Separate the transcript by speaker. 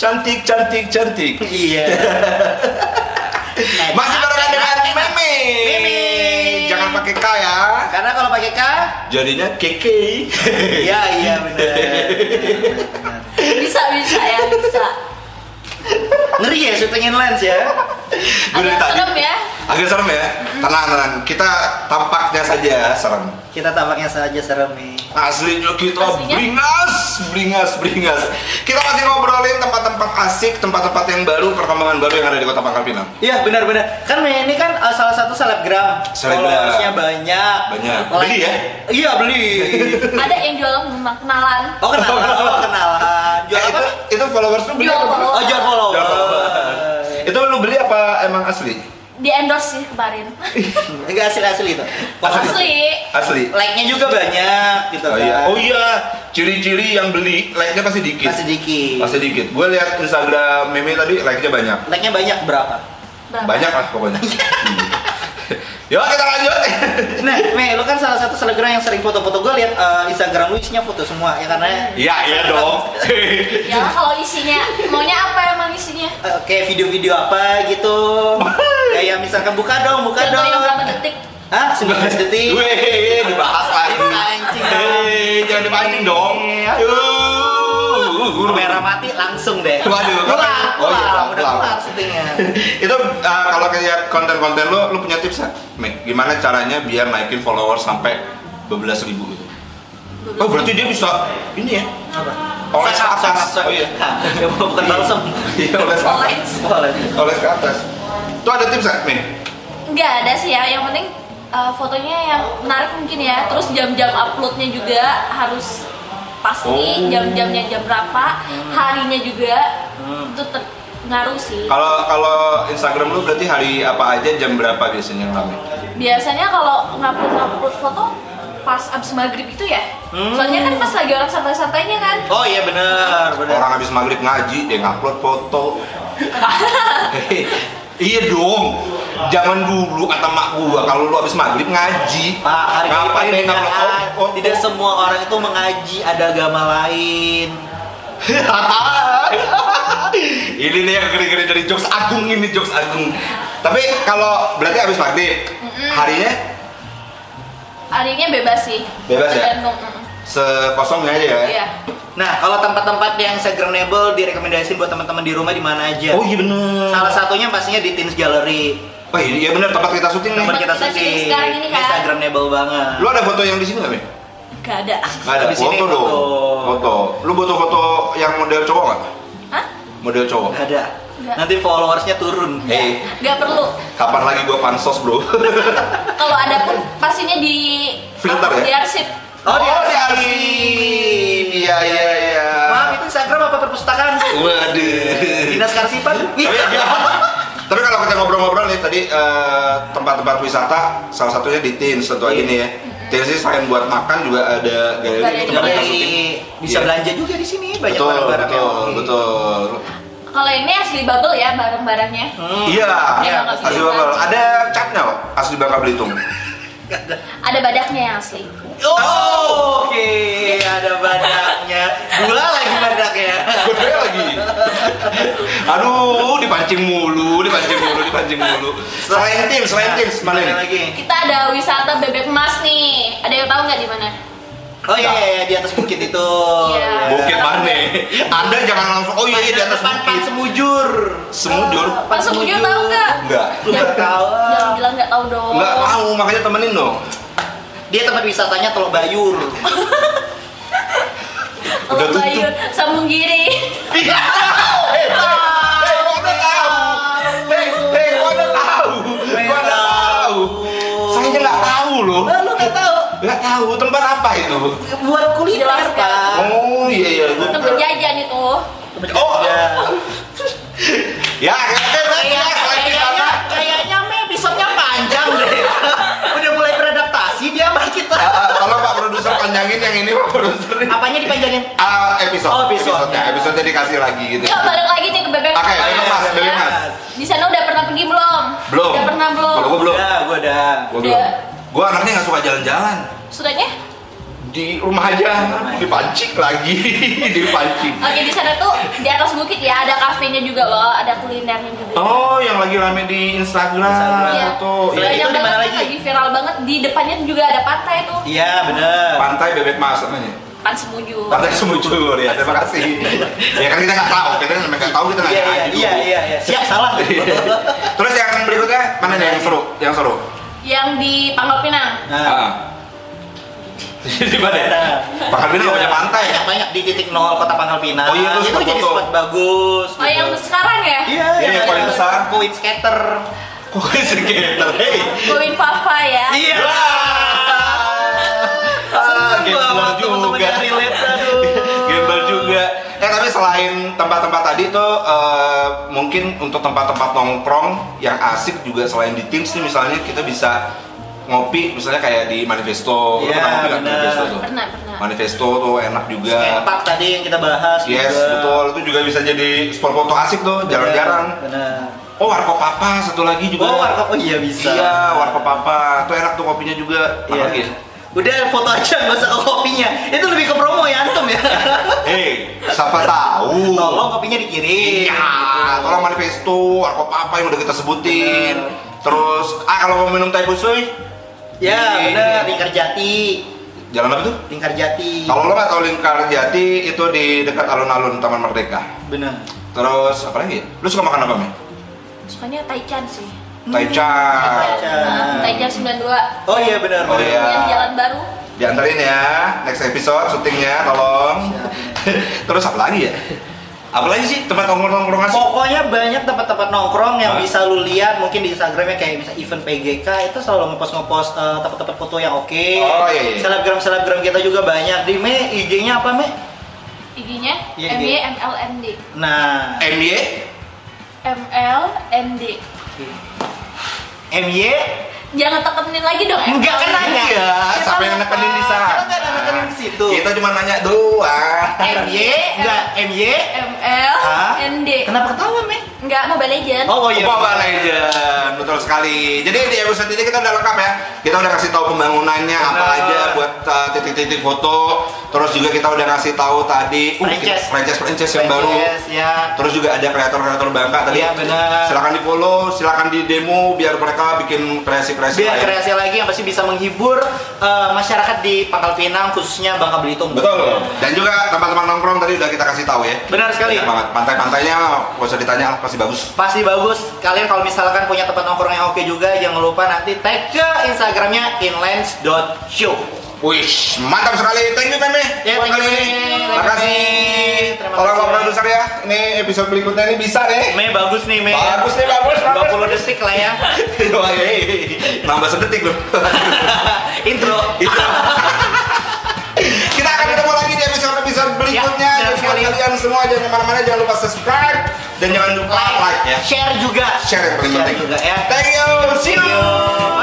Speaker 1: cantik, cantik, cantik.
Speaker 2: Iya. Nah,
Speaker 3: Masih barengan dengan Mimi.
Speaker 2: Mimi.
Speaker 3: Jangan pakai K ya.
Speaker 2: Karena kalau pakai K,
Speaker 1: Jadinya keke.
Speaker 2: iya iya benar.
Speaker 4: bisa bisa ya bisa
Speaker 2: Ngeri ya syutingin lens ya.
Speaker 3: Gua dari
Speaker 4: agak
Speaker 3: tadi-
Speaker 4: serem ya
Speaker 3: Agak serem ya. Tenang, tenang. Kita tampaknya saja serem.
Speaker 2: Kita tampaknya saja serem nih.
Speaker 3: Aslinya kita
Speaker 4: Aslinya?
Speaker 3: beringas, beringas, beringas. Kita masih ngobrolin tempat-tempat asik, tempat-tempat yang baru, perkembangan baru yang ada di Kota Pangkal Pinang.
Speaker 2: Iya benar-benar. Kan Mei ini kan uh, salah satu selebgram.
Speaker 3: Selebgram.
Speaker 2: Followersnya banyak.
Speaker 3: Banyak.
Speaker 2: Like-
Speaker 3: Beli ya?
Speaker 2: Iya beli.
Speaker 4: ada yang jual rumah kenalan
Speaker 2: Oh kenalan, oh, kenalan. Jual
Speaker 3: Eh,
Speaker 2: apa?
Speaker 3: itu, itu followers lu beli
Speaker 4: Jual
Speaker 3: apa?
Speaker 4: follower.
Speaker 2: Oh jual follower.
Speaker 3: Jual follower. Itu lu beli apa emang asli?
Speaker 4: di endorse sih kemarin
Speaker 2: Enggak asli asli itu.
Speaker 4: asli
Speaker 3: Asli.
Speaker 2: Like-nya juga banyak gitu
Speaker 3: Oh
Speaker 2: kan.
Speaker 3: iya, oh iya, ciri-ciri yang beli like-nya pasti dikit.
Speaker 2: Masih dikit.
Speaker 3: Pasti dikit. Gue lihat Instagram meme tadi like-nya banyak.
Speaker 2: Like-nya banyak berapa?
Speaker 4: Berapa?
Speaker 3: Banyak lah pokoknya. Hmm. Yuk kita lanjut.
Speaker 2: Nah, Mei, lu kan salah satu selebgram yang sering foto-foto gue lihat eh, Instagram lu isinya foto semua ya karena
Speaker 3: Iya, iya dong.
Speaker 4: ya lah, kalau isinya maunya apa emang isinya
Speaker 2: eh, kayak video-video apa gitu. kayak misalkan buka dong, buka
Speaker 4: Contoh yang
Speaker 2: dong.
Speaker 4: berapa detik
Speaker 2: Hah, 19 detik.
Speaker 3: Weh, dibahas lagi.
Speaker 2: Anjing.
Speaker 3: Hei, jangan dipancing dong. Aduh.
Speaker 2: Kamera mati langsung deh.
Speaker 3: Waduh,
Speaker 2: pulang,
Speaker 3: oh iya,
Speaker 2: pulang,
Speaker 3: pulang,
Speaker 2: udah
Speaker 3: pulang.
Speaker 2: pulang syutingnya.
Speaker 3: Itu uh, kalau kayak konten-konten lo, lo punya tips nggak? Nih, gimana caranya biar naikin followers sampai belas ribu gitu? Oh berarti dia bisa ini ya?
Speaker 2: Apa?
Speaker 3: Oles ke
Speaker 2: Sahab, sahab,
Speaker 3: atas.
Speaker 2: sahab.
Speaker 3: Oh iya.
Speaker 2: Hah, ya, bukan balsem.
Speaker 3: Iya, oles ke atas.
Speaker 4: online
Speaker 2: Boleh.
Speaker 3: Oles ke atas. Tuh ada tips nggak, Mei?
Speaker 4: nggak ada sih ya yang penting uh, fotonya yang menarik mungkin ya terus jam-jam uploadnya juga harus pasti
Speaker 3: Oh. Hmm.
Speaker 4: jam-jamnya jam berapa harinya juga itu ter- ngaruh sih
Speaker 3: Kalau kalau Instagram lu berarti hari apa aja jam berapa biasanya yang rame?
Speaker 4: biasanya kalau ngupload ngupload foto pas abis maghrib itu ya
Speaker 2: Hmm.
Speaker 4: soalnya kan pas lagi orang santai-santainya kan
Speaker 2: Oh iya benar, benar.
Speaker 3: Orang habis maghrib ngaji dia ngupload foto. Hehe. iya dong. Jangan dulu kata mak gua kalau lu habis maghrib ngaji.
Speaker 2: Pak, harga
Speaker 3: ngapain
Speaker 2: perbedaan.
Speaker 3: ngupload foto? Oh,
Speaker 2: Tidak semua orang itu mengaji ada agama lain.
Speaker 3: ini nih yang gede-gede dari jokes agung ini jokes agung. Tapi kalau berarti habis maghrib harinya
Speaker 4: harinya bebas sih
Speaker 3: Bebas ya?
Speaker 4: tergantung mm-mm.
Speaker 3: sekosongnya aja ya.
Speaker 4: iya
Speaker 2: Nah, kalau tempat-tempat yang Instagramable direkomendasiin buat teman-teman di rumah di mana aja?
Speaker 3: Oh iya bener.
Speaker 2: Salah satunya pastinya di Teens Gallery.
Speaker 3: Oh iya iya bener tempat kita syuting nih.
Speaker 2: Tempat kita
Speaker 4: kita syuting
Speaker 2: syuting.
Speaker 4: sekarang ini kan?
Speaker 2: Instagramable banget.
Speaker 3: Lu ada foto yang di sini nggak, Be?
Speaker 4: nggak ada
Speaker 3: Nggak ada
Speaker 2: Habis ini
Speaker 3: foto dong.
Speaker 2: foto.
Speaker 3: Foto. Lu butuh foto yang model cowok nggak?
Speaker 4: Hah?
Speaker 3: Model cowok.
Speaker 2: Nggak ada.
Speaker 4: Nggak.
Speaker 2: Nanti followersnya turun.
Speaker 3: Nggak. Eh.
Speaker 4: nggak perlu
Speaker 3: Kapan lagi gua pansos, Bro?
Speaker 4: kalau ada pun pastinya di
Speaker 3: Filter ya?
Speaker 4: di arsip
Speaker 2: Oh, di
Speaker 3: di
Speaker 2: arsip.
Speaker 3: arsip. Iya iya iya.
Speaker 2: Maaf, itu Instagram apa perpustakaan? Bu?
Speaker 3: Waduh.
Speaker 2: Dinas Karsipan? Iya.
Speaker 3: Tapi, ya. Tapi kalau kita ngobrol-ngobrol nih tadi eh, tempat-tempat wisata salah satunya di Tins tentu aja
Speaker 2: Iya.
Speaker 3: nih ya. Tins sih selain buat makan juga ada galeri tempat
Speaker 4: Galeri.
Speaker 3: kita
Speaker 2: Galeri.
Speaker 3: syuting.
Speaker 2: Bisa
Speaker 3: Iya.
Speaker 2: belanja juga di sini banyak
Speaker 3: Betul,
Speaker 2: barang-barang ya. Hmm. yang
Speaker 3: betul,
Speaker 2: oke.
Speaker 3: betul.
Speaker 4: kalau ini asli bubble ya barang-barangnya
Speaker 2: Hmm.
Speaker 3: Iya,
Speaker 4: Iya,
Speaker 3: asli
Speaker 4: Bangka
Speaker 3: Bangka.
Speaker 4: Belitung.
Speaker 3: Ada catnya loh, asli Bangka Belitung.
Speaker 4: ada badaknya yang asli
Speaker 2: Oh, oke, ada badaknya. Gula lagi badaknya.
Speaker 3: Gue lagi. Aduh, dipancing mulu, dipancing mulu, dipancing mulu. Selain tim, selain tim,
Speaker 2: Gimana
Speaker 3: mana nih?
Speaker 2: Nah, lagi?
Speaker 4: kita ada wisata bebek emas nih ada yang tahu nggak di mana
Speaker 2: Oh iya, iya, iya, di atas bukit itu.
Speaker 4: Iya.
Speaker 3: Bukit mana? Anda jangan langsung. Oh iya, iya di atas
Speaker 2: Depan Pan
Speaker 3: bukit.
Speaker 2: semujur.
Speaker 3: Semujur.
Speaker 4: Pak Sumudjo tahu nggak
Speaker 3: Enggak.
Speaker 2: Nggak
Speaker 4: Jangan-
Speaker 2: tahu.
Speaker 4: jangan bilang nggak tahu dong
Speaker 3: Enggak mau, makanya temenin dong.
Speaker 2: Dia tempat wisatanya Teluk Bayur.
Speaker 3: Udah tutup.
Speaker 4: Bayur, sambung giri
Speaker 3: Ih, eh, eh, gua udah tahu. Eh, eh, gua udah tahu. Gua udah tahu. Saya aja nggak tahu loh.
Speaker 2: Lah, lu nggak tahu?
Speaker 3: Nggak tahu tempat apa itu.
Speaker 2: Buat kuliner,
Speaker 4: Jelaskan.
Speaker 2: Pak.
Speaker 3: Oh iya iya. gua-
Speaker 4: tempat jajan itu
Speaker 3: Oh.
Speaker 2: Ya.
Speaker 3: Ya, kita
Speaker 2: Kayaknya, kayaknya, kayaknya Mei episode-nya panjang deh. Udah mulai beradaptasi dia sama kita.
Speaker 3: Kalau Eh, Pak Produser panjangin yang ini Pak Produser.
Speaker 2: Apanya dipanjangin?
Speaker 3: Ah, episode.
Speaker 2: Oh, episode.
Speaker 3: Episode-nya, episode-nya dikasih lagi gitu.
Speaker 4: Yuk balik lagi nih ke bebek
Speaker 3: Oke, bebek mas,
Speaker 4: Ya.
Speaker 3: bebek mas.
Speaker 4: Di sana udah pernah pergi belum?
Speaker 3: Belum.
Speaker 4: Udah pernah belum?
Speaker 3: Kalau gua belum.
Speaker 2: Ya, gua udah.
Speaker 3: Gua belum.
Speaker 4: Udah.
Speaker 3: Gua anaknya nggak suka jalan-jalan.
Speaker 4: Sudahnya?
Speaker 3: di rumah aja dipancing lagi dipancing
Speaker 4: Oke di sana tuh di atas bukit ya ada kafenya juga loh, ada kulinernya juga.
Speaker 3: oh yang lagi rame di Instagram
Speaker 4: Iya.
Speaker 3: foto
Speaker 2: Selain itu
Speaker 4: Banyak
Speaker 2: di mana
Speaker 4: banget
Speaker 2: lagi?
Speaker 4: lagi viral banget di depannya juga ada pantai tuh.
Speaker 2: Iya bener.
Speaker 3: pantai bebek mas namanya
Speaker 4: Pan semuju.
Speaker 3: pantai semucur ya terima kasih ya kan kita nggak tahu kita nggak tahu kita nggak
Speaker 2: Iya iya
Speaker 3: nanya
Speaker 2: iya
Speaker 3: gitu.
Speaker 2: iya iya. Siap salah.
Speaker 3: terus yang berikutnya mana nih yang seru yang seru
Speaker 4: Yang di Pangkal Pinang.
Speaker 3: Ah,
Speaker 2: Nah,
Speaker 3: di mana
Speaker 2: nah.
Speaker 3: Pak Habib punya ya? pantai ya?
Speaker 2: Banyak banyak di titik nol kota Pangkal Pinang.
Speaker 3: Oh iya,
Speaker 2: itu
Speaker 3: tuh spot
Speaker 2: jadi
Speaker 3: foto.
Speaker 2: spot bagus.
Speaker 4: Oh yang
Speaker 2: gitu.
Speaker 4: sekarang ya?
Speaker 2: Iya,
Speaker 3: Iya, yang paling besar.
Speaker 2: Kuit skater.
Speaker 3: kok skater hei
Speaker 4: Goin Fafa ya.
Speaker 2: Iya.
Speaker 3: Ah,
Speaker 2: Seneng gua sama
Speaker 3: gembel
Speaker 2: temen-temen
Speaker 3: juga.
Speaker 2: yang relate, aduh.
Speaker 3: Gembel juga. Eh tapi selain tempat-tempat tadi tuh eh, mungkin untuk tempat-tempat nongkrong yang asik juga selain di Teams nih misalnya kita bisa ngopi misalnya kayak di Manifesto. Lu
Speaker 2: Iya,
Speaker 3: pernah ngopi nggak di
Speaker 2: benar.
Speaker 3: Manifesto tuh?
Speaker 4: Pernah, pernah.
Speaker 3: Manifesto tuh enak juga.
Speaker 2: Skate tadi yang kita bahas
Speaker 3: Iya. Yes,
Speaker 2: juga.
Speaker 3: betul. Itu juga bisa jadi spot foto asik tuh, jarang-jarang.
Speaker 2: Benar.
Speaker 3: Oh, Warkop Papa satu lagi juga.
Speaker 2: Oh, warkop oh iya bisa.
Speaker 3: Iya, Warkop Papa. Tuh enak tuh kopinya juga. ya? Apa
Speaker 2: Iya.
Speaker 3: lagi?
Speaker 2: Udah foto aja nggak usah ke kopinya. Itu lebih ke promo ya antum ya.
Speaker 3: Hei, siapa tahu.
Speaker 2: Tolong kopinya dikirim.
Speaker 3: Iya,
Speaker 2: gitu.
Speaker 3: tolong manifesto, apa apa yang udah kita sebutin.
Speaker 2: Bener.
Speaker 3: Terus, ah kalau mau minum teh busui,
Speaker 2: Ya,
Speaker 3: Di-
Speaker 2: benar. Lingkar Jati.
Speaker 3: jalan apa tuh?
Speaker 2: Lingkar Jati.
Speaker 3: Kalau lo nggak tahu Lingkar Jati itu di dekat alun-alun Taman Merdeka.
Speaker 2: Benar.
Speaker 3: Terus apa lagi? Lo suka makan apa nih?
Speaker 2: Hmm,
Speaker 4: Sukanya Taichan sih.
Speaker 3: Taichan.
Speaker 2: Taichan.
Speaker 4: Nah, Taichan 92.
Speaker 2: Oh iya benar.
Speaker 3: Oh iya.
Speaker 4: Yang di Jalan Baru.
Speaker 3: Dianterin ya, next episode syutingnya tolong. Terus apa lagi ya? Apa lagi sih tempat nongkrong-nongkrong asik?
Speaker 2: Pokoknya banyak tempat-tempat nongkrong yang
Speaker 3: Hah?
Speaker 2: bisa lu lihat mungkin di Instagramnya kayak bisa event PGK itu selalu ngepost ngepost eh, tempat-tempat foto yang oke.
Speaker 3: Oh, iya, iya.
Speaker 2: Selebgram selebgram kita juga banyak. Di me IG-nya apa me?
Speaker 4: IG-nya
Speaker 2: Iya,
Speaker 4: M
Speaker 2: iya.
Speaker 4: MLND.
Speaker 2: Nah
Speaker 3: MY?
Speaker 4: MLND.
Speaker 2: MY
Speaker 4: Jangan tekenin lagi dong.
Speaker 2: enggak
Speaker 4: MLND.
Speaker 2: kan nanya.
Speaker 3: Iya, siapa yang
Speaker 4: lupa.
Speaker 3: nekenin di
Speaker 2: Kalau nggak
Speaker 3: sana?
Speaker 2: ada nekenin di situ.
Speaker 3: Kita cuma nanya doang.
Speaker 2: MY enggak MY Hah?
Speaker 4: MLND.
Speaker 2: Kenapa ketawa me?
Speaker 4: Enggak Mobile Legends.
Speaker 2: Oh, oh iya.
Speaker 3: Mobile Legend, betul sekali. Jadi di episode ini kita udah lengkap ya. Kita udah kasih tahu pembangunannya apa
Speaker 2: Benar.
Speaker 3: aja buat uh, titik-titik foto. Terus juga kita udah ngasih tahu tadi uh,
Speaker 2: Franchise.
Speaker 3: franchise franchise yang baru.
Speaker 2: Yes, ya.
Speaker 3: Terus juga ada kreator-kreator bangka tadi.
Speaker 2: Iya, benar.
Speaker 3: Silakan di follow, silakan di demo biar mereka bikin kreasi-kreasi
Speaker 2: biar
Speaker 3: lain.
Speaker 2: kreasi lagi yang pasti bisa menghibur eh, masyarakat di Pangkal Pinang khususnya Bangka Belitung.
Speaker 3: Betul. Dan juga teman-teman nongkrong tadi udah kita kasih tahu ya.
Speaker 2: Benar sekali.
Speaker 3: Enak banget. Pantai-pantainya nggak usah ditanya lah, pasti bagus.
Speaker 2: Pasti bagus. Kalian kalau misalkan punya tempat nongkrong yang oke juga, jangan lupa nanti tag ke Instagramnya inlands.show.
Speaker 3: Wish, mantap sekali. Thank you Meme.
Speaker 2: Ya,
Speaker 3: Buat
Speaker 2: thank you,
Speaker 3: kali
Speaker 2: Meme.
Speaker 3: ini.
Speaker 2: Thank you,
Speaker 3: Makasih.
Speaker 2: Meme. Terima kasih,
Speaker 3: Tolong Pak
Speaker 2: Meme.
Speaker 3: produser ya. Ini episode berikutnya ini bisa eh. deh.
Speaker 2: Mei bagus nih, Mei.
Speaker 3: Bagus nih, bagus, bagus.
Speaker 2: 20 detik lah ya.
Speaker 3: Wah, hei. Nambah sedetik loh.
Speaker 2: Intro.
Speaker 3: Itu. Kita akan ketemu lagi di episode-episode
Speaker 2: Ya,
Speaker 3: berikutnya.
Speaker 2: benar
Speaker 3: Jadi buat
Speaker 2: sekali.
Speaker 3: kalian semua jangan kemana-mana, jangan lupa subscribe dan jangan lupa like ya.
Speaker 2: Share juga.
Speaker 3: Share yang paling penting.
Speaker 2: juga ya.
Speaker 3: Thank you. See
Speaker 2: Thank
Speaker 3: you.
Speaker 2: you.